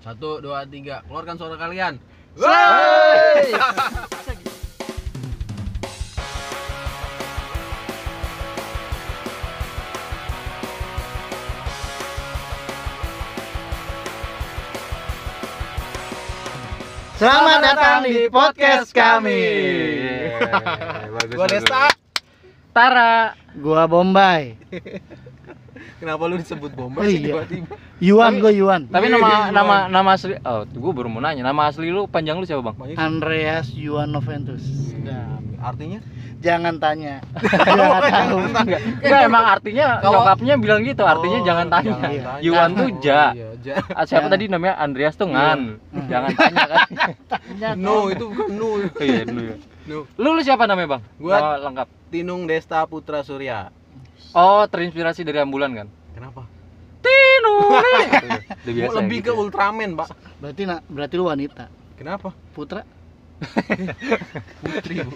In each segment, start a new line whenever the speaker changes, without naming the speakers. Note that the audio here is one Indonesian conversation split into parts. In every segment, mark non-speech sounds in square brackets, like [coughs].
Satu, dua, tiga. Keluarkan suara kalian.
Selamat datang di podcast kami.
Bagus.
Gua Desta.
Tara
Gua Bombay.
Kenapa lu disebut bomber
Oh
sih
iya.
tiba-tiba?
Yuan gua Yuan.
tapi
Iya,
nama
iya.
nama nama asli oh gue baru mau nanya nama asli lu panjang lu siapa bang
Makanya-
Andreas Yuan Noventus.
Nah, Artinya?
Jangan tanya. [laughs] Jangan tahu.
Enggak emang artinya
Iya, Kalau-
nyokapnya bilang gitu artinya
Oh,
jangan tanya
jangan tanya.
Yuan tuh ja
Oh, iya, ja. [laughs]
Ah, siapa
Jangan.
tadi namanya Andreas tuh ngan
Hmm.
[laughs] jangan tanya kan
No, itu bukan no.
oh, iya dulu ya
No.
lu lu siapa namanya bang
Gua-
Nama lengkap
Tinung Desta Putra Surya.
oh terinspirasi dari ambulan kan
Kenapa?
Tino
[laughs]
Udah biasa ya,
Lebih ke
gitu ya.
Ultraman, Pak.
Berarti nak, berarti lu wanita.
Kenapa?
Putra.
Putri. Bu.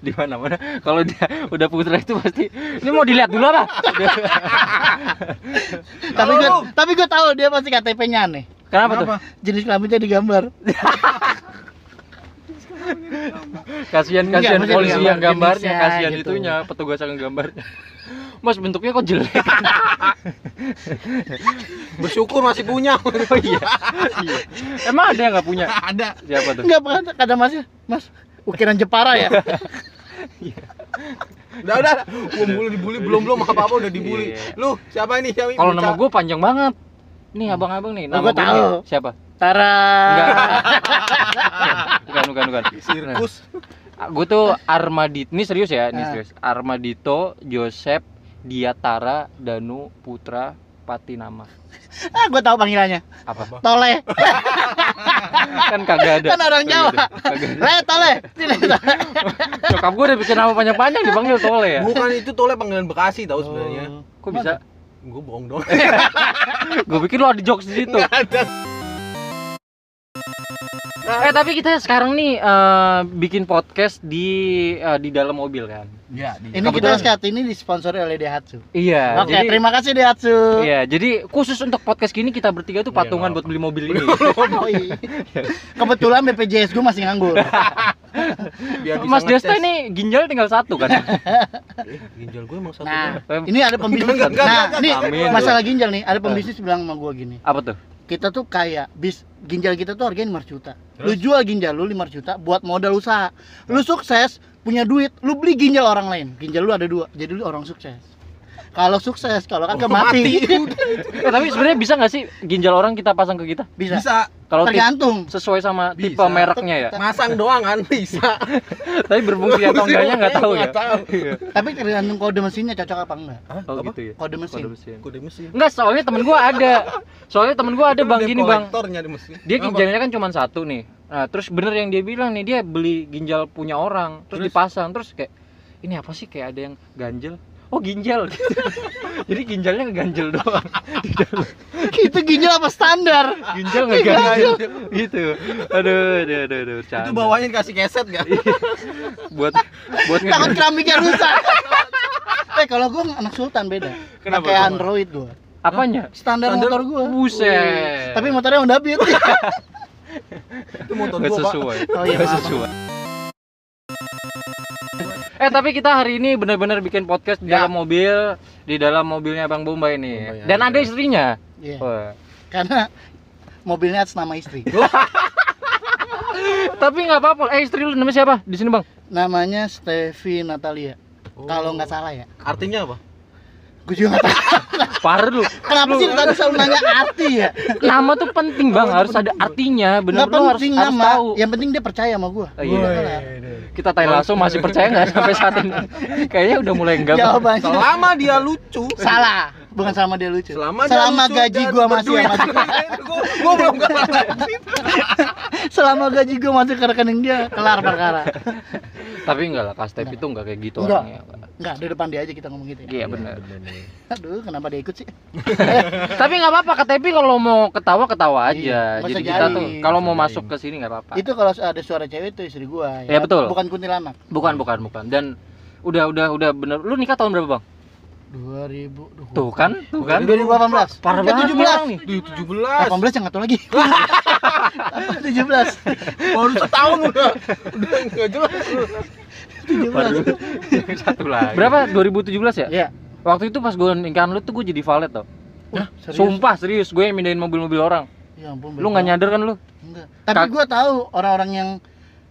di mana mana kalau dia udah putra itu pasti ini mau dilihat dulu apa
Tapi gua tapi gua tahu dia pasti KTP-nya aneh.
kenapa, tuh
Jenis kelaminnya digambar.
kasihan
Enggak,
kasihan
maksudnya
polisi
gambar
yang gambarnya
jenisnya
kasihan
gitu.
itunya petugas yang gambarnya mas bentuknya kok jelek
Bersyukur masih punya.
oh iya iya emang [laughs] ada yang nggak punya
Ada.
siapa tuh
Enggak pernah kadang masih Mas ukiran Jepara
[laughs]
ya.
Udah, udah. Gua mulu dibully belum belum apa-apa udah dibully.
Iya.
Lu siapa ini? Siapa ini?
kalau nama gue panjang banget nih abang-abang nih nama
Oh, gua
gua
tahu. Ah.
nih. siapa
Tara.
enggak bukan bukan bukan
sirkus.
Nah, gue tuh Armadit ini serius ya ini
Ah.
serius Armadito Joseph Diatara Danu Putra Patinama
Ah, gua tahu panggilannya.
apa
Toleh.
kan kagak ada
Kan orang Jawa.
Kagak ada. Kagak ada.
Le,
[laughs]
toleh. Sini, toleh.
nyokap gue udah bikin nama panjang-panjang dipanggil tole ya
Bukan itu tole panggilan Bekasi tahu sebenarnya.
Oh.
kok bisa
Gua bohong
[laughs]
dong.
gue pikir lo ada jokes di situ
Nggak ada.
eh tapi kita sekarang nih eh, bikin podcast di eh, di dalam mobil kan
Iya,
Ini kita saat ini disponsori oleh Daihatsu.
Nah,
iya
Oke, terima kasih
[laughs]
Daihatsu.
Iya, jadi khusus untuk podcast gini kita bertiga tuh
Iya,
patungan
nggak
buat beli mobil ini.
Yoi. Kebetulan BPJS gue masih nganggur.
[laughs] Mas Desta nih ginjal tinggal satu [laughs] kan.
Eh, ginjal gue emang satu.
Nah,
doang.
ini ada pembisnis.
Enggak, enggak,
Nah,
enggak,
ini
enggak, Nah.
enggak.
masalah ginjal nih. Ada pembisnis bilang sama gue gini.
Apa tuh?
Kita tuh kaya, bis ginjal kita tuh harganya 5 juta. Lu
Terus?
jual ginjal lu 5 juta buat modal usaha. Lu sukses, punya duit, lu beli ginjal orang lain. Ginjal lu ada dua, jadi lu orang sukses. Kalau sukses, kalau kagak
Oh,
mati. [laughs]
Eh, tapi sebenarnya bisa nggak sih ginjal orang kita pasang ke kita?
Bisa.
Bisa
Kalau tip-
Tergantung.
sesuai sama
Bisa.
tipe mereknya ya.
masang doang kan bisa.
Tapi berfungsi atau enggaknya nggak tahu ya.
Nggak tahu.
Iya.
Tapi tergantung kode mesinnya cocok apa enggak.
Hah?
Oh
Apa?
gitu ya.
Kode mesin.
Kode mesin.
Kode mesin.
Enggak, soalnya temen gua ada. Soalnya temen gua ada Bang gini, Bang.
Kolektornya di mesin.
Dia
Kenapa?
ginjalnya kan cuma satu nih. Nah, terus bener yang dia bilang nih, dia beli ginjal punya orang,
Terus?
terus, dipasang, terus kayak ini apa sih kayak ada yang ganjel. Oh, ginjal. [laughs] gitu. Jadi ginjalnya ngeganjel doang.
Itu ginjal apa standar?
Iya,
Ginjal ngeganjel gitu. Aduh, aduh, aduh, aduh.
Itu
bercanda. Iya.
bawahnya dikasih keset enggak?
buat buat
takut
ngeganjel.
keramiknya rusak. eh kalau gue anak sultan beda. Pakai
Kenapa tuh, Mas?
Android gue.
Apanya?
Standar,
Standar?
motor gue.
Buset.
Tapi motornya Honda Beat.
Itu motor
Nggak
gua, Pak.
sesuai.
Oh iya,
Nggak
maaf.
sesuai. Eh tapi kita hari ini benar-benar bikin podcast di
Ya.
dalam mobil, di dalam mobilnya Bang Bombay
Bombay,
nih. Dan
ya.
ada istrinya.
Iya.
Wah.
Karena mobilnya atas nama istri.
Tapi nggak apa-apa. Eh istri lu namanya siapa? Di sini Bang.
Namanya Stevie Natalia.
Oh.
Kalau nggak salah ya.
artinya apa?
Iya.
Gue juga nggak
[laughs]
tahu.
Parah lu.
Kenapa sih tadi selalu nanya arti ya?
Nama tuh penting Bang, harus ada artinya.
Nggak
Bener lu harus,
penting
harus
nama.
tahu.
Yang penting dia percaya sama gue.
Oh, iya.
Kelar.
Kita tanya langsung masih percaya [laughs] nggak sampai saat ini? Kayaknya udah mulai enggak.
Jawabannya
Selama dia lucu,
[laughs] salah. Bukan sama dia lucu.
selama dia
Selama
lucu
gaji
dan
gue masih
berduit.
masuk.
[laughs] Gua- gua belum kelar.
[laughs] Selama gaji gue masuk ke rekening dia kelar perkara.
Tapi enggak lah, Kastep itu enggak kayak gitu
Nggak.
orangnya.
Enggak, di depan dia aja kita ngomong gitu ya.
Iya benar.
Aduh, kenapa dia ikut sih?
Tapi nggak apa-apa kata Epi kalau mau ketawa ketawa aja.
Iya,
Jadi
masa
kita
jaim,
tuh kalau mau
masa
masuk
jaim.
ke sini nggak apa-apa.
Itu kalau ada suara cewek itu istri gua ya.
Iya, betul.
Bukan kuntilanak.
Bukan bukan bukan. Dan udah udah udah bener. Lu nikah tahun berapa bang?
2000 duh.
Tuh kan, tuh kan.
2018.
Parah
Eh,
banget
17.
orang nih.
Duh, 17.
18 yang [laughs] satu lagi. Apa 17?
Baru setahun udah. Udah enggak jelas. lu.
17.
Waduh.
Satu lagi.
Berapa? 2017 ya?
Iya.
Waktu itu pas gue nikahan lu tuh gue jadi valet tau.
serius?
Sumpah serius gue yang mindahin mobil-mobil orang.
Ya ampun.
Lu nggak nyadar kan lu?
Enggak. Tapi
Kak-
gua tahu orang-orang yang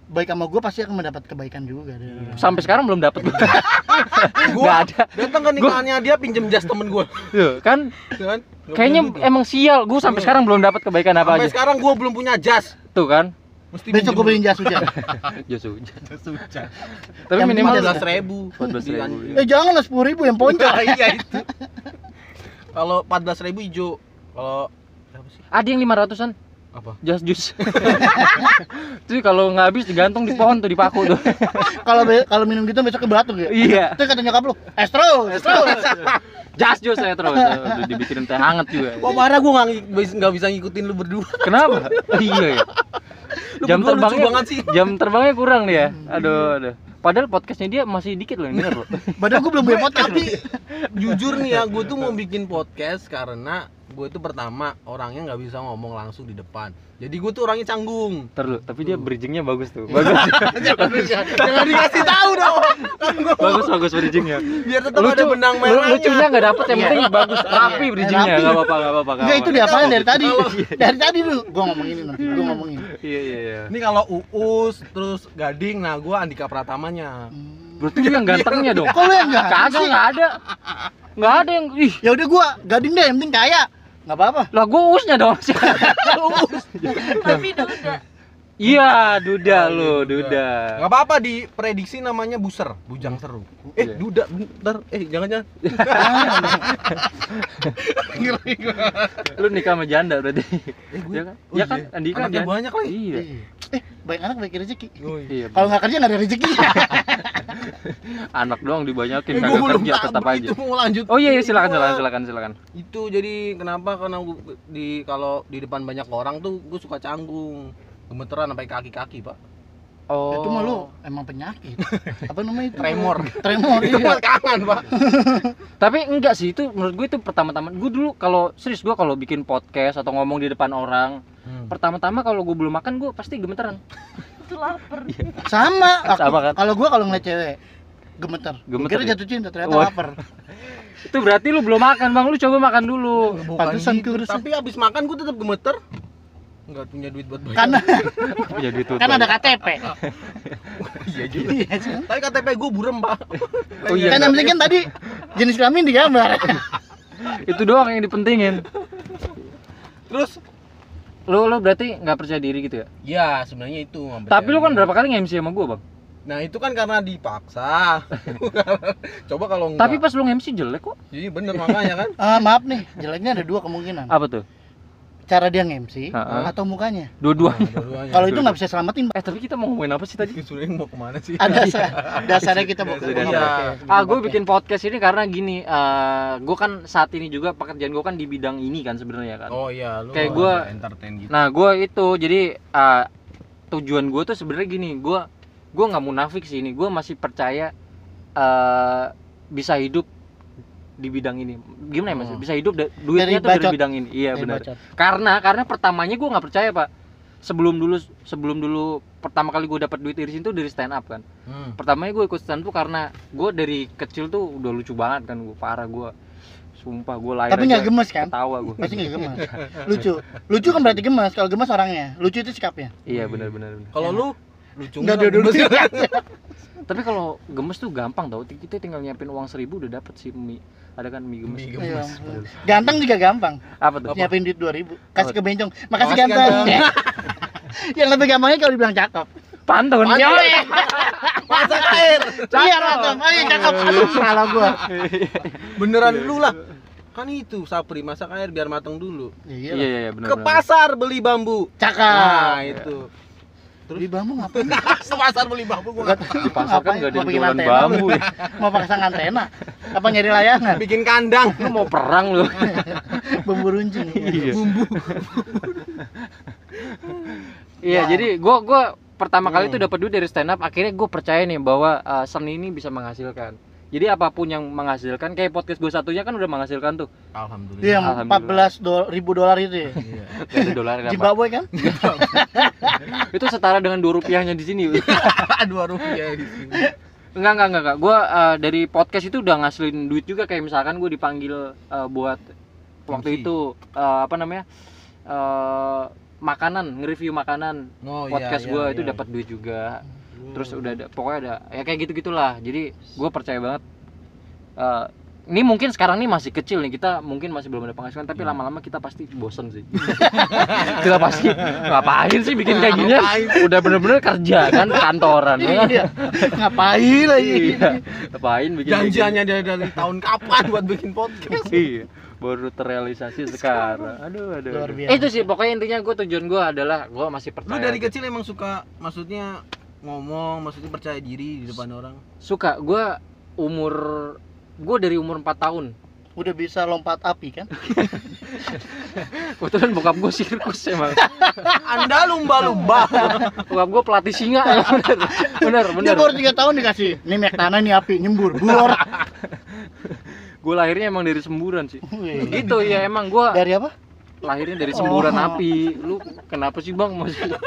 baik sama gua pasti akan mendapat kebaikan juga dari orang.
Sampai sekarang belum dapet. [laughs]
Gua
Gak ada.
datang ke nikahannya dia pinjem jas temen gua.
Kan
Kan? Gak
kayaknya
punya juga.
emang sial. Gue sampai
Iya.
sekarang belum dapat kebaikan apa
sampai
aja.
sekarang gua belum punya jas.
Tuh
[laughs]
kan.
Mesti
Besok gua beliin jas hujan.
Ah,
Jas hujan. [laughs]
sudah.
Tapi
Yang penting
minimal
adalah
14.000. Di-
14.000,
eh jangan lah 10 ribu yang
Nah,
poncol.
iya itu. Kalau 14.000 hijau. Kalau apa sih?
ada yang 500-an
Apa?
jas
[laughs]
jus. Tapi kalau nggak habis digantung di pohon tuh di paku
[laughs]
tuh.
Kalau be- kalau minum gitu besoknya batuk ya.
Iya.
Itu kata nyokap lu, "Estro, estro."
Jas jus saya terus. Aduh, Dibikinin teh hangat juga.
Kok marah gua nggak ngi- nggak bisa ngikutin lu berdua.
Kenapa? iya ya.
Lu
Jam
berdua lucu
terbangnya
banget sih. Hmm.
Jam terbangnya kurang nih ya. Aduh, aduh. Padahal podcastnya dia masih dikit
[laughs]
loh yang denger loh.
Padahal gua belum punya podcast.
Tapi jujur nih ya, gue tuh mau bikin podcast karena gue tuh pertama orangnya nggak bisa ngomong langsung di depan. Jadi gue tuh orangnya canggung.
Ntar lu, tapi dia bridgingnya bagus tuh. Bagus,
Jangan dikasih tahu dong. Kan gua mau-
bagus, bagus bridgingnya.
Biar tetap ada
Lucu,
benang
lu-
merahnya.
lucunya nggak dapet yang penting bagus, rapi bridgingnya.
Rapi.
Gak apa-apa, gak apa-apa. nggak
Enggak itu
apa-apa.
diapain dari tadi? Dari tadi lu gua ngomongin ini nanti, gua ngomongin.
Iya, iya, iya.
Ini kalau Uus terus Gading, nah gue Andika Pratamanya.
Hmm.
Berarti dia yang gantengnya dong.
Kok lu yang enggak?
Kagak, nggak ada. Nggak ada yang, ih.
Ya udah gua gading deh, yang penting kaya. Enggak apa-apa.
Lah gue usnya dong.
Tapi duda.
Iya, duda
Oh,
lu,
iya, duda.
duda.
Gak apa-apa diprediksi namanya Buser, Bujang Seru. Eh,
Iya.
Duda, bentar. Eh, jangan-jangan.
Lu nikah sama janda berarti.
Eh, gue.
Iya kan?
Oh,
Iya kan?
iya.
Andika
Anaknya
janda.
banyak lagi. Oh,
Iya.
Eh, baik anak baik rezeki.
Iya.
Kalau nggak kerja nggak ada rezeki.
anak doang dibanyakin
Eh, gue
kagak
belum
kerja
tak-
tetap aja.
Itu mau lanjut.
Oh iya, iya silakan
Gua-
silakan silakan silakan.
Itu jadi kenapa karena gua- di kalau di depan banyak orang tuh gue suka canggung. Gemeteran sampai kaki-kaki, [laughs] Pak.
Oh.
Ya, Itu mah lu emang
[laughs]
penyakit. Apa namanya itu?
Tremor.
Tremor.
Itu
Iya.
buat kangen, Pak.
Tapi enggak sih itu menurut gue itu pertama-tama gue dulu kalau serius gue kalau bikin podcast atau ngomong di depan orang,
Hmm.
pertama-tama kalau gue belum makan gue pasti gemeteran.
Itu lapar.
Sama. aku-
Sama kan?
Kalau gua kalau ngeliat cewek gemeter.
Gemeter,
Kira
ya?
jatuh cinta ternyata
Wah.
lapar. [laughs]
Itu berarti lu belum makan, Bang. Lu coba makan dulu.
Pantesan
gitu.
kurusan.
Tapi abis makan gue tetap gemeter. Enggak punya duit buat bayar.
Karena
[laughs] Iya duit
kan ada KTP.
[laughs] iya juga.
Iya sih.
Tapi KTP gue burem, Pak.
Oh iya.
Kan yang penting kan tadi jenis kelamin digambar. [laughs]
Itu doang yang dipentingin.
Terus
Lu lu berarti nggak percaya diri gitu ya.
Ya sebenarnya itu. nggak percaya.
Tapi lu kan berapa kali nge-MC sama gue, Bang?
Nah itu kan karena [laughs] dipaksa. Coba kalau enggak.
Tapi pas lu nge-MC jelek kok.
Jadi bener makanya
[laughs]
kan.
Ah, maaf nih, jeleknya ada dua kemungkinan.
Apa tuh?
Cara dia nge-MC
Ha-ha.
atau mukanya.
Dua-duanya. [laughs]
Nah, Dua-duanya.
[laughs] Kalau itu nggak bisa selamatin, Pak.
Eh, tapi kita mau ngomongin apa sih tadi?
Sebenarnya mau kemana sih?
Ada sa- dasarnya kita mau
Sudah,
mau
sudah.
pakai-
Iya. Ah, gue bikin podcast ini karena gini, eh gue kan saat ini juga pekerjaan gue kan di bidang ini kan sebenarnya kan.
Oh iya, lu
Kayak gua-
ada entertain gitu.
Nah, gue itu jadi eh, tujuan gue tuh sebenarnya gini, gue gue nggak munafik sih ini, gue masih percaya eh bisa hidup di bidang ini. Gimana ya mas?
Hmm.
Bisa hidup da-
Dari
duitnya tuh dari
bacot.
bidang ini. Iya
Dari
benar.
bacot.
Karena karena pertamanya gue nggak percaya pak. Sebelum dulu sebelum dulu pertama kali gue dapat duit irisin tuh dari stand up kan.
Hmm.
pertamanya gue ikut stand up karena gue dari kecil tuh udah lucu banget kan gue parah gue sumpah gue lahir
Tapi
aja
nggak gemes kan?
ketawa gue
Pasti nggak gemes. Lucu. Lucu kan berarti gemes. Kalau gemes orangnya. Lucu itu sikapnya.
iya benar benar benar.
Kalau lu lucu
Nggak ada dulu.
tapi kalau gemes tuh gampang tau kita tinggal nyiapin uang seribu udah dapet sih mie ada kan mie gemes
Mie gemes.
Iya. Ganteng juga gampang.
apa Oh. tuh
Nyiapin duit 2000, kasih ke bencong. Makasih
Makasih
ganteng.
ganteng.
[laughs] Yang lebih gampangnya kalau dibilang cakep.
pantun
Yoi.
iya.
Masak air.
Iya, Rotom. Oh iya, cakep. Aduh, salah gua.
Beneran
Iya,
lu lah. Kan itu Sapri masak air biar mateng dulu.
iya
Iya.
iya
lah.
iya benar
Ke pasar beli bambu. Nah,
Cakep.
itu.
Nah,
Di bambu ngapain?
[laughs] Ke pasar beli bambu gua. nggak tahu.
di pasar kan
Ngapain?
nggak ada
Mau
yang
bikin
jualan
antena
bambu ya.
lu? Mau pasang antena? Apa nyari
[laughs]
layangan?
Bikin kandang.
lu mau perang lu
Bambu runcing.
iya iya jadi gue gua pertama kali
Hmm.
tuh dapat duit dari stand up akhirnya gue percaya nih bahwa eh, seni ini bisa menghasilkan Jadi apapun yang menghasilkan kayak podcast gue satunya kan udah menghasilkan tuh
Alhamdulillah.
Iya, yang
Alhamdulillah.
14 do- ribu dolar itu ya.
[laughs] Iya.
dari dolar kan, Pak.
Zimbabwe kan?
Itu setara dengan dua rupiahnya di sini.
Dua rupiah iya, di sini.
Enggak, enggak, enggak, enggak. Gue dari podcast itu udah ngasilin duit juga kayak misalkan gue dipanggil eh, buat waktu
MC.
itu eh, apa namanya? eh makanan, nge-review makanan
Oh, iya, iya,
podcast gue
iya. Hmm.
itu dapat duit juga. Terus udah ada pokoknya ada ya kayak gitu-gitulah. Jadi gue percaya banget eh, ini mungkin sekarang nih masih kecil nih kita mungkin masih belum ada penghasilan tapi
Iya.
lama-lama kita pasti bosen sih [laughs] kita pasti ngapain sih bikin kayak
[laughs]
gini udah bener-bener kerja kan kantoran ya kan?
Iya. Ngapain lagi?
iya ngapain bikin kayak gini?
Janjiannya dari, dari tahun kapan buat bikin podcast?
iya baru terrealisasi sekarang aduh aduh,
Luar
aduh.
biasa.
Eh, itu sih pokoknya intinya gue tujuan gue adalah gue masih
Lu
percaya
dari kecil emang suka maksudnya ngomong, maksudnya percaya diri di depan orang.
suka gue umur gue dari umur 4 tahun
Udah bisa lompat api kan?
kebetulan bokap gue sirkus emang
Anda
[laughs]
lumba-lumba.
bokap gue pelatih singa ya bener bener bener
Dia baru 3 tahun dikasih. Nih minyak tanah nih api nyembur.
[laughs]
Bor.
gue lahirnya emang dari semburan sih
Wih.
gitu ya emang gue
Dari apa?
lahirnya dari semburan api lu kenapa sih bang maksudnya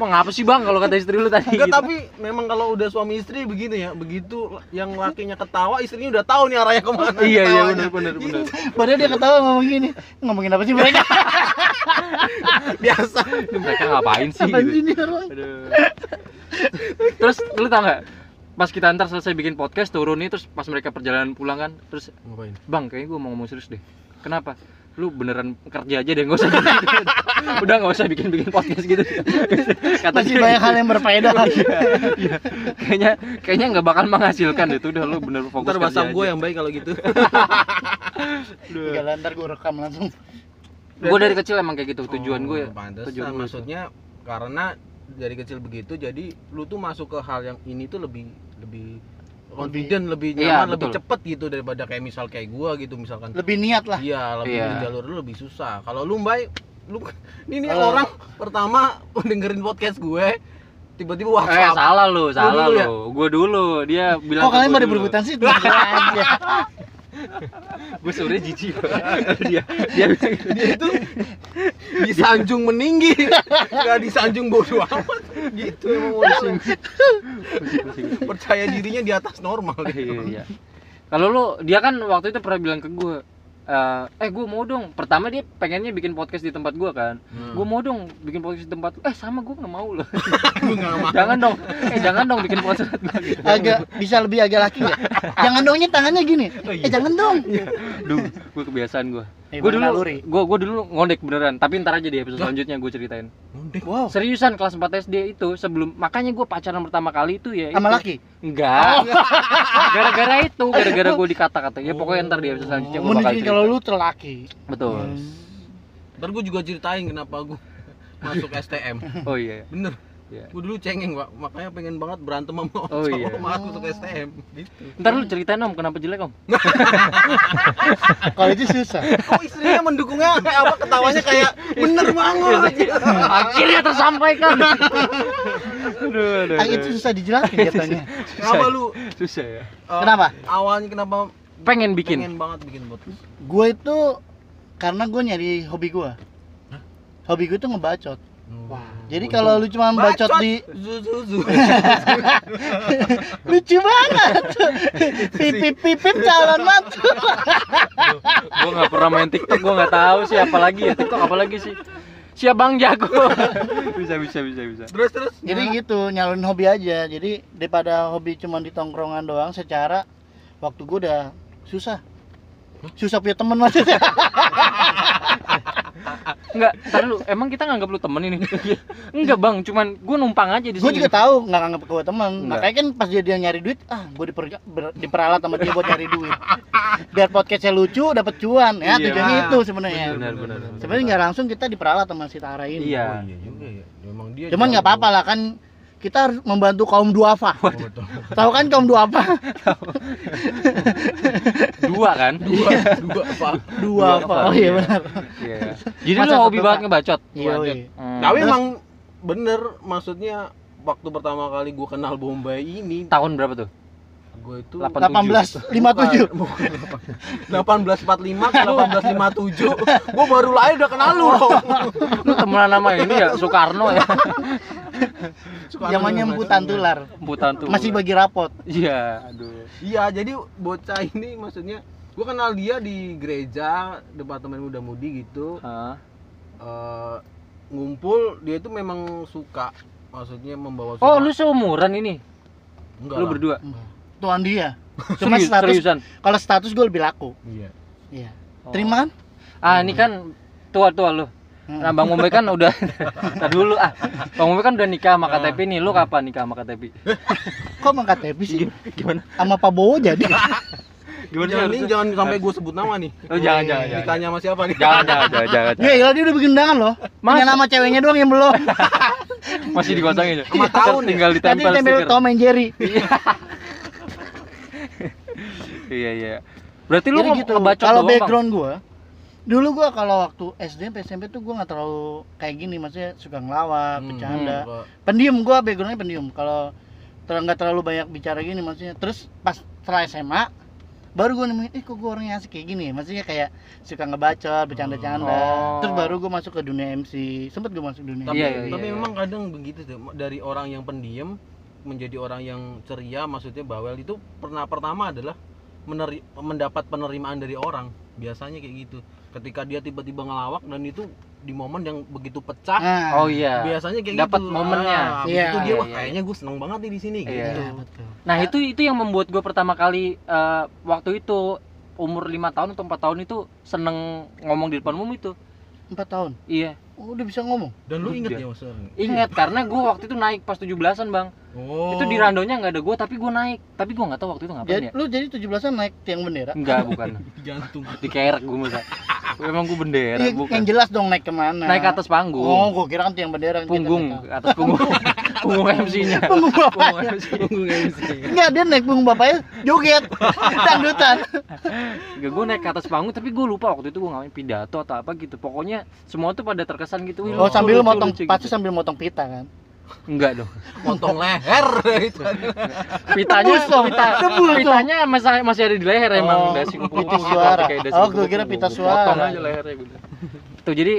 mengapa sih bang kalau kata istri lu tadi
Enggak,
gitu?
tapi memang kalau udah suami istri begitu ya, begitu yang lakinya ketawa, istrinya udah tahu nih arahnya kemana.
iya iya
ketawanya.
bener bener bener
Padahal dia ketawa ngomong gini. Ngomongin apa sih
Iya,
mereka?
[laughs] Biasa.
Ini mereka ngapain sih
Apaan
gitu
sih ini orang?
Aduh. terus lu tau nggak pas kita antar selesai bikin podcast turun nih terus pas mereka perjalanan pulang kan terus
Ngapain?
bang kayaknya gue mau ngomong serius deh kenapa lu beneran kerja aja deh nggak usah bikin, [laughs] udah nggak usah bikin bikin podcast gitu kata
Masih
dia iya.
banyak
gitu.
hal yang berfaedah.
kayaknya kayaknya nggak bakal menghasilkan itu udah lu bener fokus
Ntar
kerja
bahasa gue
aja.
yang baik kalau gitu.
Enggak lantar gue rekam langsung.
gue dari kecil emang kayak gitu tujuan gue
Oh, pantesan.
tujuan gue
maksudnya karena dari kecil begitu jadi lu tuh masuk ke hal yang ini tuh lebih lebih confident, lebih
Iya,
nyaman, lebih
betul.
cepet gitu daripada kayak misal kayak gua gitu misalkan.
Lebih niat lah.
Iya, lebih
Iya.
di jalur lu lebih susah. Kalau lu Mbak, lu [laughs] ini nih
Kalau-
orang pertama dengerin podcast gue tiba-tiba
eh
WhatsApp.
salah lu salah
dulu
lu,
ya?
gue dulu dia bilang
Kok kalian pada
berputar
berebutan sih? Tenang aja.
gue sebenernya jijik [laughs] Kalau dia dia bilang gitu.
Dia itu disanjung
[laughs]
meninggi, nggak disanjung bodoh amat. Gitu emang orang.
Pusing, pusing, pusing.
percaya dirinya di atas normal.
[laughs] iya iya. kalau lu dia kan waktu itu pernah bilang ke gue eh, eh gue mau dong pertama dia pengennya bikin podcast di tempat gue kan gue mau dong bikin podcast di tempat lu. eh sama gue nggak mau loh [laughs]
gue nggak mau.
jangan [laughs] dong eh jangan dong bikin podcast [laughs] gue gitu
Agak bisa lebih agak laki ya. Jangan dongnya tangannya gini.
Oh, iya.
Eh jangan dong.
Duh, gue kebiasaan gue
Eh,
gue dulu
naluri.
gue gue dulu ngondek beneran tapi ntar aja di episode selanjutnya gue ceritain
Wow.
seriusan kelas 4 SD itu sebelum makanya gue pacaran pertama kali itu ya
Sama
itu.
laki. Oh.
enggak gara-gara itu gara-gara
[laughs]
gue dikata-katanya pokoknya ntar di episode selanjutnya gue bakal
Menunjukin
cerita.
kalau lu terlaki.
betul
Ntar gue juga ceritain kenapa gue [laughs] masuk STM.
Hmm.
oh iya
Bener.
Iya.
Gue dulu cengeng, Pak. Makanya pengen banget berantem sama
Oh,
sama
iya.
emak aku masuk STM. Gitu.
Ntar lu ceritain om kenapa jelek om
Ah, Kalau itu
[laughs]
susah.
Oh, istrinya mendukungnya kayak apa? Ketawanya kayak bener
Iya,
banget.
Akhirnya tersampaikan Aduh aduh,
Ah, itu susah
Iya,
dijelasin katanya.
Kenapa lu
susah ya
uh,
Kenapa?
awalnya kenapa
Pengen bikin
pengen banget bikin podcast?
Gue itu karena gue nyari hobi gue. Hobi gue tuh ngebacot. Jadi kalau lu cuma
Hmm.
bacot di [laughs]
Zuzuzu.
lucu [laughs] banget. pipip pipip calon mantu.
Gue gak pernah main tiktok gue gak tahu sih apalagi ya tiktok apalagi sih Siap bang jago Bisa bisa bisa bisa
Terus terus. Nah.
Jadi gitu, nyalurin hobi aja. Jadi daripada hobi cuma di tongkrongan doang secara waktu gue udah susah. Susah punya temen maksudnya.
Enggak, ntar lu, emang kita nganggap lu temen ini? Enggak bang, cuman gue numpang aja di
gue
sini
juga tahu nggak nganggep gue teman
Nggak.
makanya kan pas dia, dia nyari duit ah gue diper, ber- diperalat sama dia buat nyari duit biar podcastnya lucu dapat cuan ya
Iya.
tujuannya itu sebenarnya
Benar, benar, benar.
sebenarnya nggak langsung kita diperalat sama si Tara ini
Iya.
Oh, iya juga ya. Memang dia.
cuman nggak apa-apa lah kan kita harus membantu kaum
[laughs]
duafa
Oh, betul.
tahu kan kaum duafa
Dua kan?
Dua, dua apa?
duafa oh iya benar
Iya Jadi lu
Masa
hobi
satu
banget ngebacot?
iya
Lanjut.
weh.
Hmm.
Tapi
Terus-
emang bener maksudnya waktu pertama kali gue kenal Bombay ini
Tahun berapa tuh?
gue itu
Lapan-
18 57
1845 ke 1857 gue baru lahir udah kenal lu
Lu temenan nama ini ya Soekarno ya.
zamannya emputan tular
Putan tuh.
masih bagi rapot
Iya.
aduh
iya jadi bocah ini maksudnya gue kenal dia di gereja departemen muda mudi gitu
Hah?
Eh, ngumpul dia itu memang suka maksudnya membawa suka
Oh, lu seumuran ini.
Enggak
Lu
lah.
berdua.
tuan dia Cuma
Serius-
status-
seriusan.
kalau status gue lebih laku
iya
iya
Oh.
terima kan
Ah, ini kan tua-tua lu.
Hmm.
Nah, Bang Ombe kan
[laughs]
udah Ntar dulu ah. Bang Ombe kan udah nikah sama KTP nih. Lu kapan nikah sama KTP?
kok mangkat tepi sih
Gimana?
sama Pak Bowo jadi
jangan
Gimana?
nih
harusnya?
jangan sampai gue sebut nama nih
Oh, jangan jangan jangan.
nikahnya sama siapa nih
[laughs] Jangan jangan jangan. jangan,
ya
jangan.
iyalah dia udah bikin undangan loh punya
Masa?
nama ceweknya doang yang belum
Masih digosongin ya.
Sama tahun ya?
tinggal
tadi
ditempel
tempel
stiker.
Tom and Jerry
Iya iya. Berarti lu
Jadi
ngom-
gitu
ngebacot
kalau
doang, Bang?
background gue dulu gue kalau waktu SD sampai SMP tuh gue nggak terlalu kayak gini maksudnya suka ngelawak
Hmm.
bercanda
Apa?
pendiam gue backgroundnya pendiam kalau ter- nggak terlalu banyak bicara gini maksudnya terus pas setelah SMA baru gue nemuin eh kok gue orangnya asik kayak gini ya?" maksudnya kayak suka ngebacot bercanda-canda
Hmm. Oh.
terus baru gue masuk ke dunia MC sempet gue masuk dunia
tapi,
Iya,
MC.
iya,
tapi
iya.
memang kadang begitu deh dari orang yang pendiam menjadi orang yang ceria maksudnya bawel itu pernah pertama adalah meneri- mendapat penerimaan dari orang biasanya kayak gitu ketika dia tiba-tiba ngelawak dan itu di momen yang begitu pecah
Nah,
Oh iya.
biasanya kayak
Dapat
gitu
momennya.
Ah, habis
Iya.
itu dia
Iya,
wah
iya.
kayaknya gue seneng banget nih di sini
Iya.
gitu
iya, betul.
Nah, itu itu yang membuat gue pertama kali eh, waktu itu umur lima tahun atau empat tahun itu seneng ngomong di depan umum itu.
empat tahun
Iya,
Oh, udah bisa ngomong
dan lu inget
Udah.
ya maksudnya
ingat karena gue waktu itu naik pas 17-an, Bang.
oh
Itu di randonya nggak ada gue tapi gue naik. Tapi gue nggak tahu waktu itu ngapain
jadi
ya.
lu jadi 17-an naik tiang bendera [laughs]
Enggak, bukan.
jantung
Dikerek gue masa. Emang gue bendera,
Iya, yang
bukan.
jelas dong naik kemana
Naik ke
oh
atas panggung.
gue kira kan tiang bendera yang kita
Punggung,
naik
ke atas punggung.
[laughs]
punggung MC-nya.
ke-
[laughs]
punggung bapak
Punggung MC.
enggak dia naik punggung bapaknya
[laughs]
joget dangdutan
Gak, gue naik ke atas panggung tapi gue lupa waktu itu gue ngapain pidato atau apa gitu pokoknya semua tuh pada terkesan gitu Wih,
Oh,
lucu,
sambil
lucu,
motong
lucu
pasti
gitu.
sambil motong pita kan.
enggak dong
potong leher
[laughs]
gitu
pitanya
Tebus dong,
pita,
tebus dong.
pitanya masih masih ada di leher
Oh,
emang dasi
pita
kupu-kupu gitu,
suara.
kayak dasi
Oh, gua
kupu-kupu.
kira pita
Gua
suara.
potong aja lehernya gitu tuh jadi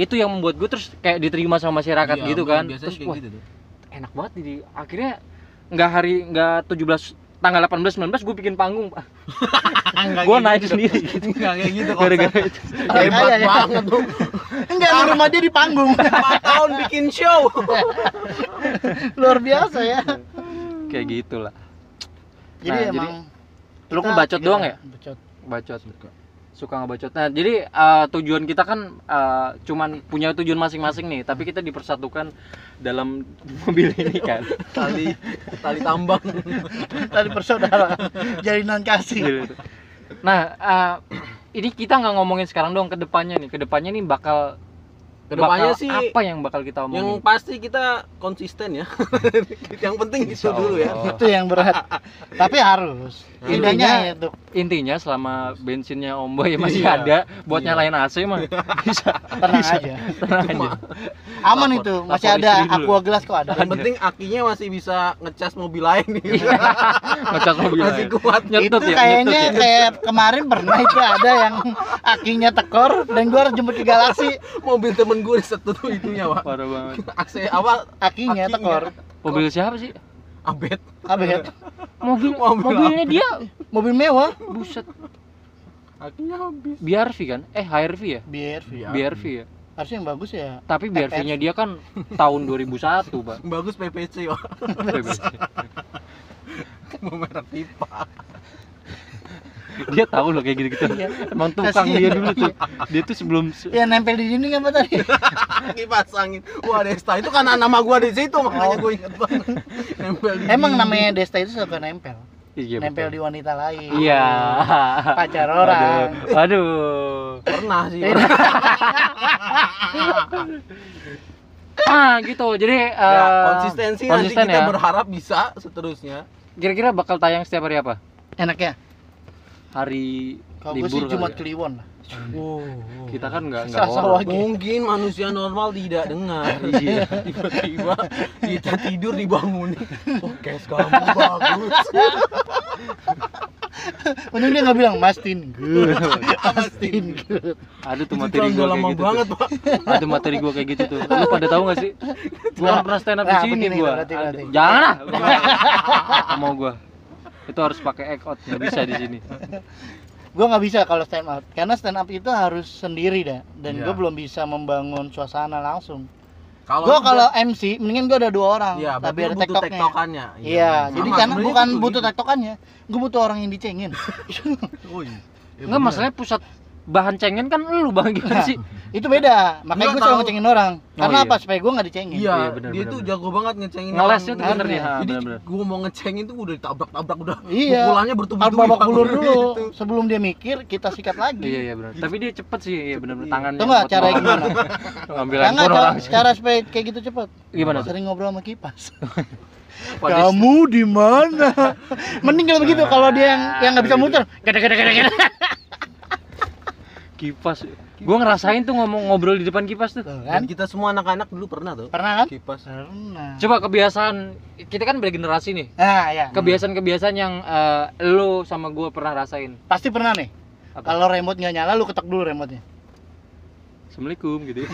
itu yang membuat gue terus kayak diterima sama masyarakat
Iya,
gitu kan
biasanya
terus
kayak
wah
gitu
[laughs]
tuh.
enak banget jadi akhirnya nggak hari nggak 17 tanggal 18 19 gue bikin panggung
Enggak
gue
kayak
naik
gitu.
sendiri gitu
Enggak kayak gitu
gara-gara itu [laughs]
Orang
hebat
kaya ya.
banget tuh
Enggak, lu rumah dia di panggung.
empat tahun bikin show
[laughs] Luar biasa ya.
Nah, kayak gitulah
Jadi
Nah,
emang
lu
kita
ngebacot
gitu,
doang ya
Bacot.
bacot suka ngebacot. Nah, jadi eh, tujuan kita kan eh, cuman punya tujuan masing-masing nih, tapi kita dipersatukan dalam [laughs] mobil ini kan.
tali tali tambang
[laughs] Tadi
[laughs]
persaudaraan, jalinan kasih.
Gitu. nah, eh, ini kita nggak ngomongin sekarang dong ke depannya nih. Ke depannya nih bakal
kedepannya
bakal
sih
apa yang bakal kita
yang
omongin?
pasti kita konsisten ya [laughs] yang penting itu
Insya
dulu ya
Allah.
Itu yang berat. Tapi harus.
Iya. Intinya-
Tidaknya itu.
Intinya selama bensinnya Om Boy masih
Iya.
ada buat
Iya.
nyalain AC
[laughs]
mah bisa
Tenang
Bisa.
aja.
tenang aja.
Cuma-
Aman
Iya. Lapor-
itu.
lapor
Masih
istri
ada
dulu.
aqua gelas kok ada.
yang penting akinya masih bisa ngecas mobil lain gitu.
Iya. Ngecas mobil.
[laughs] masih kuat
itu
Nyetut ya,
kayaknya
nyetut ya.
kayak kemarin pernah itu ada yang akinya tekor dan gua harus jemput ke galaksi
mobil temen gue disetut itunya pak
Parah banget.
AC apa
akinya,
Akinya.
tekor
Mobil siapa sih?
abet
apa ya
Mobil,
[laughs] Mobil
mobilnya dia
mobil mewah
buset
akinya habis Iya.
BRV kan? Eh HRV ya?
biar
BRV ya?
harusnya yang bagus ya
Tapi BRV-nya dia kan tahun 2001, Pak.
[laughs] bagus PPC pak mau merek pipa
dia tahu loh kayak gitu-gitu.
Iya.
Emang tukang
Kasian.
dia dulu tuh. Dia tuh sebelum
Ya nempel di sini kan Pak tadi.
[laughs]
kipas angin wah Desta itu kan nama gue di situ makanya gue inget banget nempel di
Emang
dinding.
namanya Desta itu suka nempel.
Iya.
nempel
[laughs]
di wanita lain.
betul. Iya.
Pacar
Aduh.
orang.
Aduh.
pernah
Iya.
sih
Eh,
Ah, gitu. Jadi eh
Ya, konsistensi nanti
konsisten
kita
ya.
berharap bisa seterusnya
kira-kira bakal tayang setiap hari apa?
Enak ya?
Hari
Kalau gue
libur
sih
kali
cuma
ya?
Kliwon lah.
Kita kan nggak nggak
Selasa
horor.
Wage.
Mungkin manusia normal tidak dengar.
[laughs] Iya.
Oh,
[laughs]
Tiba-tiba kita tidur dibangunin. Podcast kamu bagus.
Untung dia nggak bilang Mastin good, Mastin good.
Ada tuh
Itu
materi
udah
gua kayak
lama
gitu.
banget pak
Tuh. Ada materi gua kayak gitu tuh.
[laughs]
Lu pada tahu gak sih? Gua nggak pernah stand up di
Nah,
sini
begini,
gua.
berarti, berarti.
Jangan lah. Mau gua. Itu harus pakai act out, nggak bisa di sini.
Iya, Gue nggak bisa kalau stand up, karena stand up itu harus sendiri dah. Dan
Iya.
gue belum bisa membangun suasana langsung.
Kalau
Gue kalau MC, mendingan gue ada dua orang,
ya
tapi
berarti
ada
butuh
tektoknya.
tektokannya
Iya,
Sama,
jadi karena
sebenarnya
bukan
itu
butuh
gitu.
tektokannya, gue butuh orang yang dicengin.
Oh, iya. Ya,
Enggak
bener.
masalahnya pusat bahan cengen kan lu bang
Iya.
gimana sih?
itu beda, makanya
Nggak
gue selalu
tahu.
ngecengin orang. Karena
iya.
apa? Supaya gue nggak dicengin.
Iya,
Iya, bener,
dia
bener,
tuh
bener.
jago banget ngecengin
Ngelesnya tuh
orang.
bener dia.
Iya.
Ah,
Jadi
bener-bener.
gua mau ngecengin tuh udah ditabrak-tabrak udah
Iya.
pukulannya
Harus
bertubi-tubi
babak
Pak.
bulur dulu
[laughs] Gitu.
sebelum dia mikir kita sikat
Iya
lagi.
iya benar. Tapi dia cepet sih, iya benar-benar
iya.
tangannya.
Tuh nggak
buat
caranya
bawa-
gimana?
Ngambil
Karena
handphone
cara,
orang.
cara supaya kayak gitu cepet.
Gimana tuh?
Sering ngobrol sama kipas.
[laughs] Waduh,
Kamu di
[laughs]
mana? Mending kalau begitu kalau dia yang yang nggak bisa
Gitu.
muter. Gede gede gede gede.
Kipas. Gua ngerasain tuh ngomong ngobrol di depan kipas tuh.
Tuh,
Dan
kan?
kita semua anak-anak dulu pernah tuh
Pernah kan?
kipas
Pernah.
Coba kebiasaan kita kan bergenerasi nih.
Ah ya,
Kebiasaan-kebiasaan yang eh, lu sama gua pernah rasain.
pasti pernah nih.
Apa?
Kalau remote nggak nyala, lu ketok dulu remote-nya.
[laughs] Assalamualaikum gitu.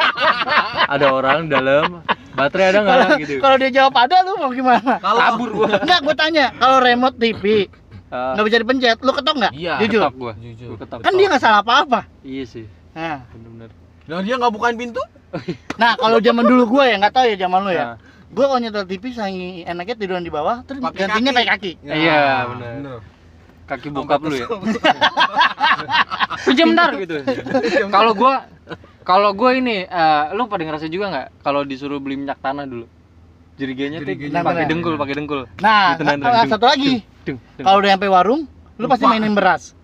[laughs] ada orang dalam, baterai ada nggak
Kalau
gitu.
kalau dia jawab ada, lu mau gimana?
kalau
Kabur gua.
Enggak, gue tanya. Kalau remote TV
Ah,
nggak bisa dipencet, lu ketok nggak?
Iya,
Jujur.
ketok gua.
jujur
Gua ketok.
Kan dia nggak salah apa-apa.
Iya sih,
Nah,
benar-benar.
dan dia nggak bukain pintu
nah kalau zaman dulu gue ya nggak tahu ya zaman lu ya.
Nah,
Gue kalau nyetel TV sangi enaknya tiduran di bawah, terus
Pakai
gantinya
kaki.
pakai kaki.
Ya,
Iya, bener. kaki bokap lu
[laughs]
ya. Pinjam dar gitu. [laughs] Kalau gua kalau gua ini eh, lu pada ngerasa juga nggak kalau disuruh beli minyak tanah dulu? Jeriganya tuh
Jeriganya.
pakai
Bener.
dengkul, pakai dengkul.
Nah,
Gitu, nah,
nah,
nah,
nah, satu lagi.
Dung, dung.
Kalau udah sampai warung, lu pasti
Lupa.
mainin beras.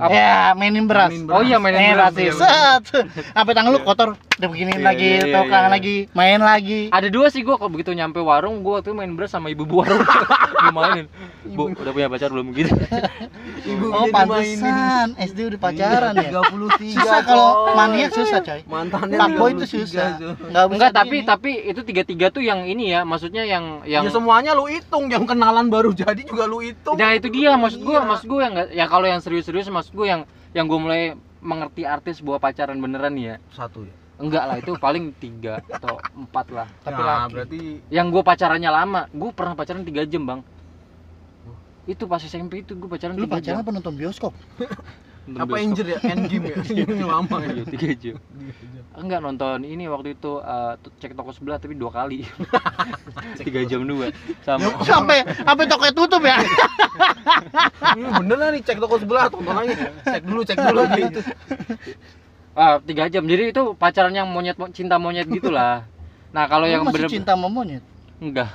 Apa?
Ya, mainin beras.
Mainin
Oh iya
Eh,
mainin beras.
rasis.
iya, bener.
Set. [laughs] Sampai tangan lu kotor, udah beginiin
Iya,
lagi,
iya, iya,
tau
iya.
lagi, main lagi.
Ada dua sih gua kalau begitu nyampe warung gua tuh main beras sama ibu bu warung. [laughs] Gua mainin. Bu, udah punya pacar belum
[laughs]
gitu.
ibu
Oh,
Iya,
pantesan SD udah pacaran
Iya,
ya.
33
Susah kalau
coy.
maniak susah, coy.
mantannya
Fuckboy itu
33,
susah.
coy.
Enggak
Enggak, tapi tapi itu tiga-tiga tuh yang ini ya, maksudnya yang yang
ya semuanya lu hitung yang kenalan baru jadi juga lu hitung
Nah, itu dia maksud gua,
Iya.
maksud gua yang nggak- ya kalau yang serius-serius maksud gua yang yang gua mulai mengerti artis bahwa pacaran beneran nih ya.
satu ya
Enggak lah, itu paling tiga atau empat lah.
Tapi
nah,
laki.
berarti
Yang gua pacarannya lama, gua pernah pacaran tiga jam, Bang. Itu pas SMP itu gua pacaran
lu
tiga
pacaran
jam.
apa nonton bioskop?
Nonton
apa
bioskop.
injir ya end game
[laughs]
ya ini lama ya
Iya, tiga jam. Enggak nonton ini waktu itu eh, t- cek toko sebelah tapi dua
[laughs]
kali. tiga jam dua sama
Sampai sampai toko tutup ya.
Ini bener lah nih cek toko sebelah tonton aja cek dulu cek dulu
[laughs]
gitu
ah, tiga jam. Jadi itu pacaran yang monyet mo- cinta monyet gitulah. Nah, kalau
Lu
yang
masih
bener
cinta sama monyet.
enggak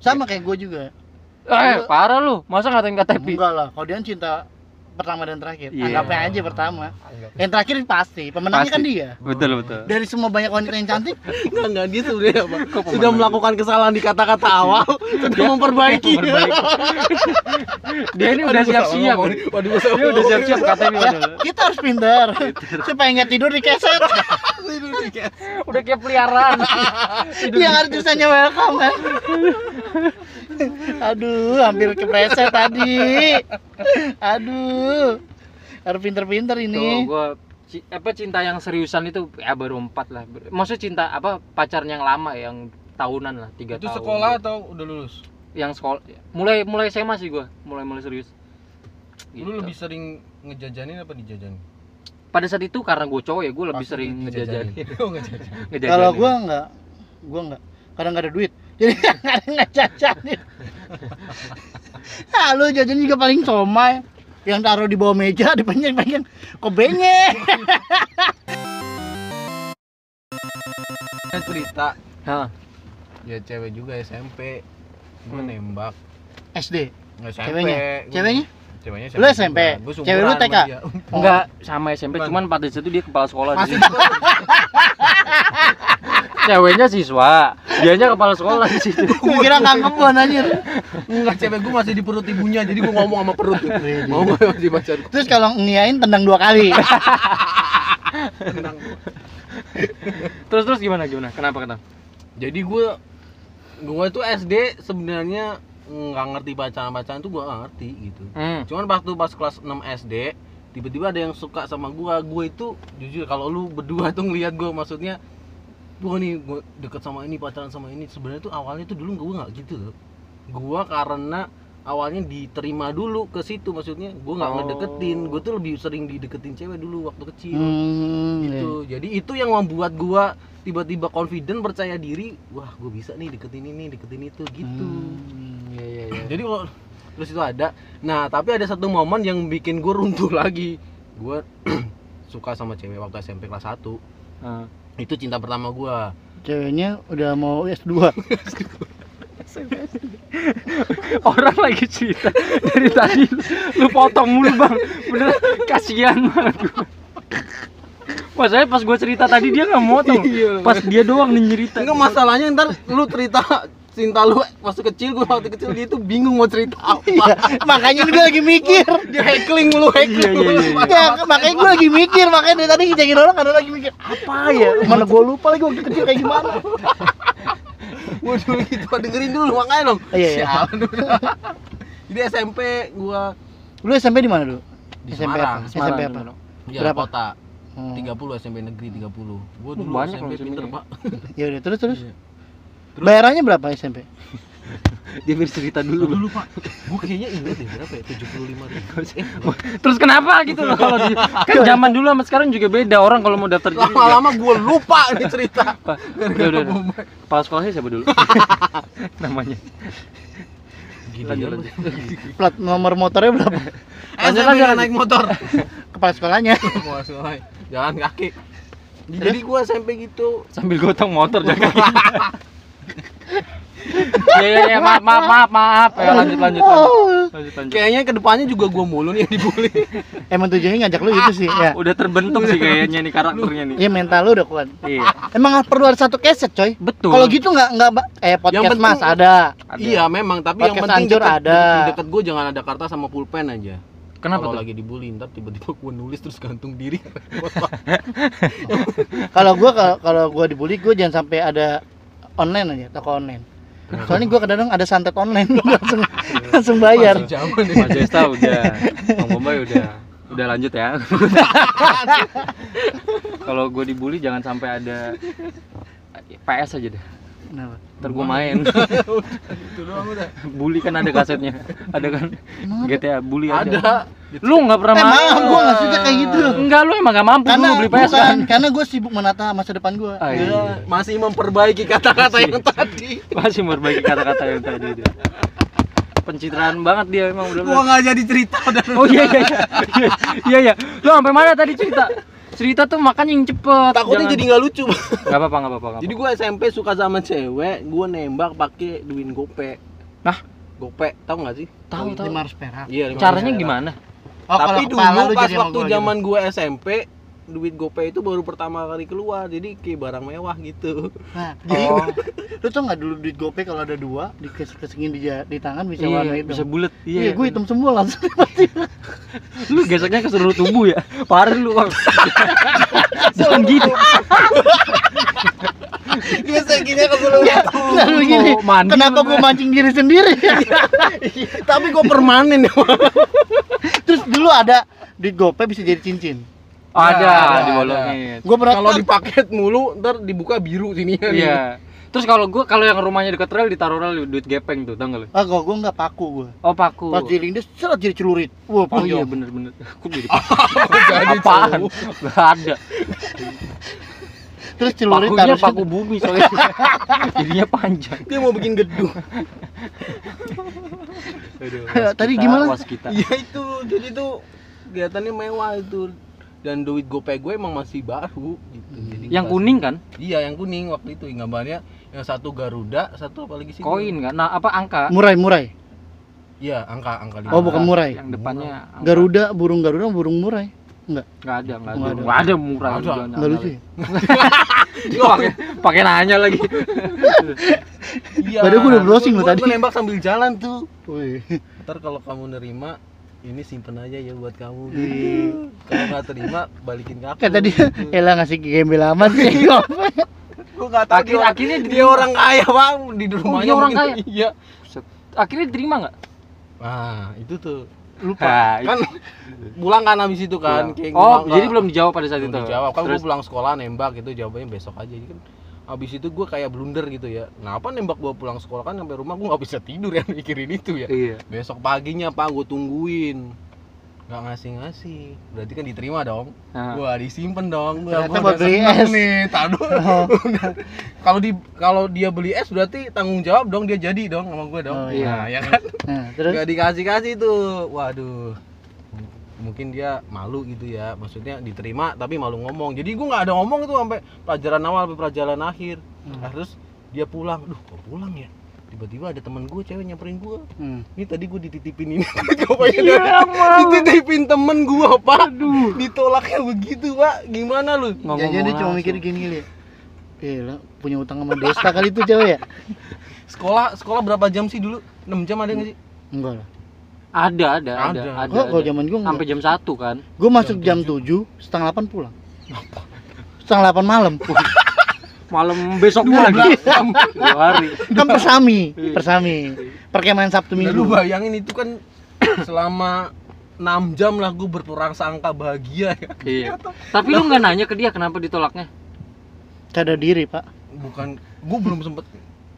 Sama kayak gue juga.
Eh,
Lu-
parah lu. Masa ngatain KTP?
Enggak lah, kalau dia kan cinta pertama dan terakhir.
Iya.
Anggapnya aja pertama. Yang terakhir pasti, pemenangnya
Pasti.
kan dia.
Betul,
[laughs]
betul.
Dari semua banyak wanita yang
[laughs]
cantik,
enggak enggak dia sudah apa
pemenangnya?
sudah melakukan kesalahan di kata-kata awal sudah
Iya.
memperbaiki [laughs]
[laughs]
Dia ini udah siap-siap.
waduh
Dia udah siap-siap KTP.
ya, [laughs] kita harus pintar. Supaya nggak tidur di
[laughs]
keset.
Udah kayak peliharaan.
yang ada tulisannya welcome
[laughs]
kan. Aduh, hampir kepreset
[laughs]
tadi. Aduh. Harus pinter-pinter
Tuh,
ini.
gua ci- apa cinta yang seriusan itu ya baru empat lah maksudnya cinta apa pacarnya yang lama yang tahunan lah tiga
itu
tahun
sekolah atau udah lulus
yang sekolah mulai mulai SMA sih gua mulai mulai serius gitu.
lu lebih sering ngejajanin apa dijajanin
pada saat itu karena gue cowok ya gue lebih
Pasti
sering ngejajanin
[laughs] Oh, ngejajanin.
ngejajanin
Kalau gua nggak, gua nggak. Kadang nggak ada duit. [laughs] Jadi kadang nggak jajanin. ah, lu jajan juga paling somai. Yang taruh di bawah meja, di pengen-pengen kok [laughs] benyek.
Ada cerita
Hah,
ya cewek juga SMP gue
Hmm.
nembak
SD.
nggak SMP
Ceweknya?
Gua-
Ceweknya?
ceweknya
Lu SMP?
Gua
Cewek lu
seumuran sama [laughs]
TK?
dia.
enggak sama SMP
Oh. Bukan.
cuman pada saat itu dia kepala sekolah
masih
jadi [laughs] ceweknya siswa dianya kepala sekolah di
[laughs]
situ
[laughs] Gua kira nggak kebon anjir.
enggak cewek gue masih di perut ibunya jadi gue ngomong sama perut mau nggak masih baca
Terus kalau ngiain tendang dua kali.
tenang
terus terus gimana gimana kenapa kenapa
jadi gue gue tuh SD sebenarnya nggak ngerti bacaan-bacaan tuh gua nggak ngerti gitu
Hmm.
cuman waktu pas kelas 6 SD tiba-tiba ada yang suka sama gua gua itu jujur kalau lu berdua tuh ngelihat gua maksudnya gua nih gua deket sama ini pacaran sama ini sebenarnya tuh awalnya tuh dulu gua nggak gitu loh gua karena awalnya diterima dulu ke situ maksudnya gua nggak
Oh.
ngedeketin gua tuh lebih sering dideketin cewek dulu waktu kecil
Hmm,
gitu jadi itu yang membuat gua tiba-tiba confident percaya diri wah gua bisa nih deketin ini deketin itu
iya.
gitu
Hmm, iya, iya, iya.
jadi kalau terus itu ada nah tapi ada satu momen yang bikin gue runtuh [laughs] lagi gue [clears throat] suka sama cewek waktu SMP kelas 1
Ah.
itu cinta pertama gue
Ceweknya udah mau [laughs] S2.
Orang lagi cerita dari tadi lu potong mulu bang, bener kasihan banget gua. Masalahnya pas gue cerita tadi dia nggak mau tuh, pas dia doang nih cerita.
enggak masalahnya ntar lu cerita cinta lu waktu kecil gue waktu kecil dia tuh bingung mau cerita apa
Iya, makanya gue lagi mikir.
dia heckling mulu heckling
Iya, iya,
mulu.
iya.
Ya, makanya gue lagi mikir, makanya dari tadi ngejengin orang karena lagi mikir apa ya? Mana gue lupa lagi waktu kecil kayak gimana?
Gua dulu gitu dengerin dulu makanya dong
Iya, iya.
Sialan udah. [laughs] jadi SMP gue
Lu SMP di mana dulu?
Di
SMP
Semarang,
apa?
Semarang
SMP apa?
ya,
Berapa?
kota
Hmm.
30 SMP negeri 30 gue dulu
Banyak
SMP
loh di sini.
pinter pak
Ya udah terus terus.
Iya. Terus?
Bayarannya berapa SMP?
Dia bercerita
dulu
dulu. Bang.
dulu pak gue kayaknya inget deh berapa ya tujuh puluh lima Eh, ribu
Terus kenapa gitu loh kalau di, kan zaman dulu sama sekarang juga beda orang kalau mau daftar diri.
lama-lama gue lupa nih cerita
Apa? Udah, udah, udah. Kepala sekolahnya siapa dulu? Namanya.
gila
Lanjut,
ya lu.
lanjut.
Plat nomor motornya
[laughs]
berapa?
Eh,
Lanjut,
saya
lanjut,
pengen
lanjut.
naik motor [laughs]
Kepala sekolahnya.
Wah, selesai. jalan kaki jadi gue SMP gitu
Sambil gotong motor jaga. [laughs] Ya ya ya maaf maaf maaf maaf. Ya lanjut lanjut lanjut.
Oh.
Lanjut lanjut.
kayaknya kedepannya juga gue mulu nih yang dibully
Emang tujuannya ngajak lu itu sih
Ah.
ya.
Udah terbentuk sih kayaknya nih karakternya nih.
Iya mental lu udah kuat.
Iya.
Emang perlu ada satu keset coy.
Betul.
Kalau gitu nggak nggak ba- eh podcast
penting-
mas ada.
Ada.
iya memang tapi yang
Podcast
penting
hancur ada.
di deket gue jangan ada kertas sama pulpen aja
Kenapa
kalau
tuh?
lagi dibully ntar tiba-tiba gue nulis terus gantung diri
Kalau gua kalau kalau gua dibully gua jangan sampai ada online aja toko online. Soalnya gua kadang ada santet online [laughs] langsung langsung bayar.
Masih zaman ya
gitu, [laughs] Mas Jesta udah. Bang Bombay udah. Udah lanjut
[laughs]
ya. Kalau gue dibully jangan sampai ada PS aja deh.
Kenapa?
Ntar gue main. [laughs]
itu doang udah
bully kan ada kasetnya. Ada kan
Emang ada?
GTA bully ada.
Iya, ada
Lu nggak pernah
Eh,
main.
malah gua maksudnya kayak gitu.
Enggak lu emang gak mampu
Karena
dulu beli PS
bukan,
kan.
karena gue sibuk menata masa depan gua.
Ah, iya.
Dia masih memperbaiki kata-kata yang tadi
Masih memperbaiki kata-kata yang tadi dia. Pencitraan banget dia emang udah.
gua nggak jadi cerita udah
Oh iya iya iya. iya. Iya iya. Lu sampai mana tadi cerita? Cerita tuh makanya yang cepet.
takutnya jadi nggak lucu
Gak apa-apa gak apa-apa.
jadi gua SMP suka sama cewek gua nembak pakai duit gope
Nah.
gope tau nggak sih
tahu tahu.
Lima ratus perak.
iya lima
Caranya
ribu.
gimana?
[laughs] Oh, Nah, kalau
tapi
kepala
dulu
lu
pas
jadi sama
waktu
gua gitu.
zaman gua SMP duit gope itu baru pertama kali keluar jadi kayak barang mewah gitu [laughs]
Nah, jadi
Oh,
[laughs] lu tau nggak dulu duit gopay kalau ada dua dikesek-kesekin di, ja- di tangan bisa
iya,
warna hitam.
bisa bulat. Iya.
Iya, gue hitam semua langsung.
Lu geseknya ke seluruh tubuh ya. Parah lu,
[laughs]
Bang. Jangan gitu.
gesekinnya ke seluruh
Lalu gini,
mau Iya, mandi
kenapa
lu,
gue
Bang?
mancing diri
[laughs]
sendiri?
tapi gua permanen ya
Terus dulu ada duit gopay bisa jadi cincin.
Ada
Ada,
di
ada.
bolongin.
Gue pernah
kalau dipaket mulu ntar dibuka biru sini
Iya. Terus kalau gua kalau yang rumahnya dekat rel ditaruh rel duit gepeng tuh, tau nggak lu?
Ah, gue gue nggak paku gue.
Oh, paku.
Pas dilindes, seret jadi celurit. Wah,
Oh iya
panjang.
bener-bener Aku
[laughs]
jadi Apaan? Gak ada
Terus celurit taruh
Pakunya paku bumi
[laughs]
soalnya Jadinya panjang
dia mau bikin gedung
Ayo,
Aduh, [laughs] was
Eh, tadi
kita,
gimana?
Was kita
Iya itu, jadi tuh kelihatannya mewah itu dan duit gopay gue emang masih baru gitu. Jadi
Yang
pas-
kuning kan?
Iya, yang kuning waktu itu gambarnya yang satu Garuda, satu apa lagi sih?
Koin kan? Nah apa angka?
Murai-murai.
Iya, angka angka lima.
Oh,
Ah.
bukan murai.
Yang depannya angka.
Garuda, burung Garuda, burung murai. Enggak,
Gak ada, gak ada
Nggak ada.
Gak ada murah
Nggak ada.
juga,
enggak lucu ya?
Gua pakai pakai nanya
[laughs]
lagi
Iya.
Padahal gue udah browsing
Gue-
loh
gue-
tadi.
Gue nembak sambil jalan tuh.
Wih.
Ntar kalau kamu nerima ini simpen aja ya buat kamu.
Iya.
Gitu. kalau nggak terima balikin ke aku.
Kayak Kan tadi,
Hmm,
gitu.
Ella ngasih gembel amat
[laughs]
sih.
gue nggak tahu.
Akhir
dia-
akhirnya
dia orang kaya bang di rumahnya.
orang
mungkin-
kaya?
Iya.
akhirnya diterima nggak
Nah, itu tuh.
lupa
Nah,
Kan pulang kan habis itu kan.
Pulang.
kayak
oh,
nggak-
jadi belum dijawab pada saat
belum
itu.
dijawab. Kan
Terus,
gue pulang sekolah nembak gitu jawabannya besok aja. Jadi kan habis itu gue kayak blunder gitu ya. Nah, apa nembak gue pulang sekolah kan sampai rumah gue nggak bisa tidur ya [laughs] mikirin itu ya.
iya.
Besok paginya pak gue tungguin. Gak ngasih-ngasih. Berarti kan diterima dong.
Nah,
Wah, disimpen dong. Gua,
Ternyata
gua
buat
udah
beli
seneng
es.
nih.
[laughs]
Taduh.
Oh.
kalau di kalau dia beli es berarti tanggung jawab dong dia jadi dong sama gue dong.
Oh,
iya.
Nah, ya kan?
nah, terus
Gak dikasih-kasih tuh. Waduh. M- Mungkin dia malu gitu ya. Maksudnya diterima tapi malu ngomong. Jadi gue nggak ada ngomong itu sampai pelajaran awal sampai pelajaran akhir. Nah,
Hmm,
terus dia pulang. Duh, kok pulang ya? Tiba-tiba ada teman gue cewek nyamperin gue.
hmm.
Ini tadi gue dititipin ini. [laughs] Gua pengen
Iya,
dititipin temen gue, Pak. Aduh. Ditolaknya begitu, Pak. Gimana lu?
ngomong
Jangan-jangan dia cuma
langsung.
mikir gini kali ya. Gila, punya utang sama Desta kali itu cewek ya?
Sekolah sekolah berapa jam sih dulu? 6 jam ada nggak sih?
Enggak lah.
Ada, ada, ada,
Ada.
ada.
Kok kalau
ada.
zaman gue enggak.
Sampai jam 1 kan.
Gue masuk jam 7, setengah 8 pulang. Setengah 8
[laughs]
malam.
Malam besoknya lagi. Dua hari.
Kan persami,
Iya.
persami. Perkemahan Sabtu
Nah, lu
Minggu.
bayangin itu kan [coughs] selama 6 jam lah gue berprasangka bahagia ya.
Iya. Tapi lu nggak nanya ke dia kenapa ditolaknya?
Cadar diri, Pak.
Bukan gue belum sempet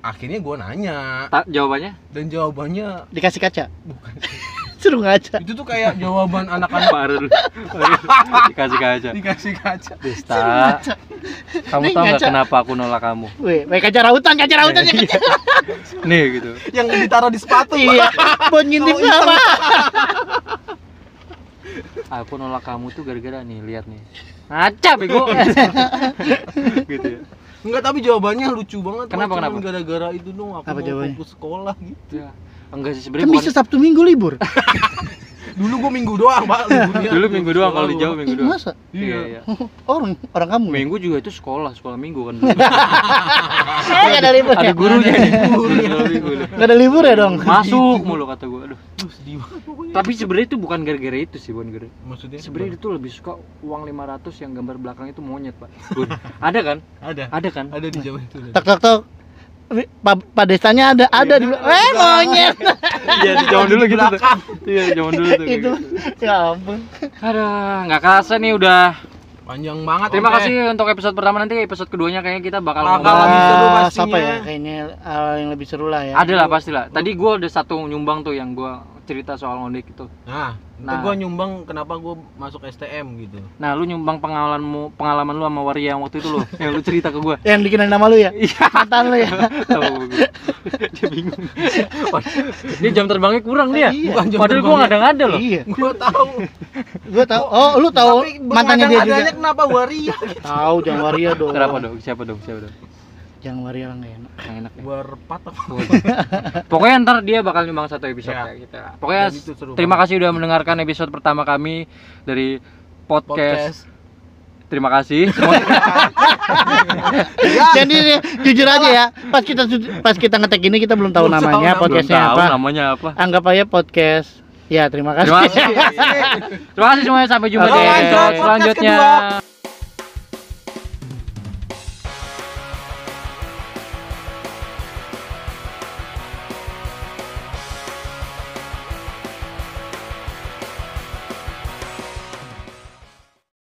akhirnya gue nanya
Ta-
[laughs]
jawabannya?
dan jawabannya
Dikasih kaca. [laughs] Suruh ngaca.
itu tuh kayak jawaban anak-anak
[laughs] Baru dulu. Dikasih kaca.
dikasih kaca
Desta, kamu
Nih,
tahu nggak
ngaca.
kenapa aku nolak kamu?
Weh, weh kaca rautan, kaca rautan ya
Iya.
kaca.
Nih gitu.
yang ditaruh di sepatu
[laughs]
Iya, buat ngintip
Kalau
apa?
Aku nolak kamu tuh gara-gara nih, lihat nih. Ngaca
[laughs]
bego.
ya.
gitu ya.
enggak tapi jawabannya lucu banget
Kenapa,
Wah, cuman
kenapa?
gara-gara itu dong aku
Apa
mau
jawabannya?
fokus sekolah gitu
Ya. Enggak sih
Iya. Kan
sebenarnya bukan. Iya,
bisa Sabtu Minggu libur.
dulu gue minggu doang
[laughs]
pak liburnya.
Dulu minggu
Iya,
doang kalau di
Sekolah
Jawa
gua.
minggu
Ih,
doang.
masa? [laughs]
Iya, iya.
Orang orang kamu. ya?
Minggu juga itu sekolah, sekolah minggu
[laughs]
kan.
Eh, nggak ada libur ya?
Ada gurunya
[laughs]
nih. Sekolah minggu.
Nggak ada libur ya dong? Iya.
Masuk mulu kata gua. Aduh.
Aduh, sedih banget pokoknya
Tapi sebenarnya itu bukan gara-gara itu sih, bukan gara.
maksudnya
Sebenarnya itu lebih suka uang 500 yang gambar belakang itu monyet, Pak. Gua- Ada kan?
ada
Ada kan?
ada di Jawa itu ada.
Tok tok tok. Wi, Pak Pak Destanya ada ada di belakang. Eh monyet. [laughs]
Iya, di zaman dulu gitu tuh. Iya, di zaman dulu tuh. kayak
Itu.
gitu.
Ya ampun.
Aduh, nggak kerasa nih udah.
panjang banget ya.
Terima
Oke.
kasih untuk episode pertama nanti episode keduanya kayaknya kita bakal
Bakal
ngomong-
lebih seru
Ah,
pastinya.
siapa ya? Kayaknya hal yang lebih seru lah ya.
Ada lah pasti lah. Tadi gua ada satu nyumbang tuh yang gua cerita soal ngondek itu.
nah, itu
Nah.
gue nyumbang kenapa gue masuk STM
[laughs]
gitu
Nah, lu nyumbang pengalamanmu, pengalaman lu sama waria yang waktu itu [laughs] lo, yang lu cerita ke gua.
Yang dikenal nama lu ya?
Iya,
Mantan lu ya?
tahu gua. Dia bingung. Dia jam terbangnya kurang dia.
Iya.
Bukan jam
Padahal gua
terbangnya.
ngada-ngada loh.
Iya.
gue tahu
Gua tahu. Oh, lu tahu
Tapi
mantannya dia juga.
bergadang-gadangnya kenapa waria
Tahu Jang Waria dong.
Kenapa dong? Siapa dong? Siapa dong?
Jang Waria lah nggak enak.
Yang enak. ya.
berpat apa
Pokoknya ntar dia bakal nyumbang satu episode
Ya.
ya, kita. Pokoknya
Dan itu seru
terima
banget.
kasih udah mendengarkan episode pertama kami dari podcast.
podcast
Terima
[laughs]
kasih. Semoga-
Iya.
Jadi Eh, jujur aja ya, pas kita pas kita ngetek ini kita belum tahu
Belum tahu
namanya
nama.
Belum
podcastnya
tahu
apa.
namanya apa.
Anggap aja podcast. Ya, terima kasih.
Iya,
Terima kasih. Terima kasih semuanya sampai jumpa
Halo,
di
Anjot, podcast
selanjutnya.
kedua.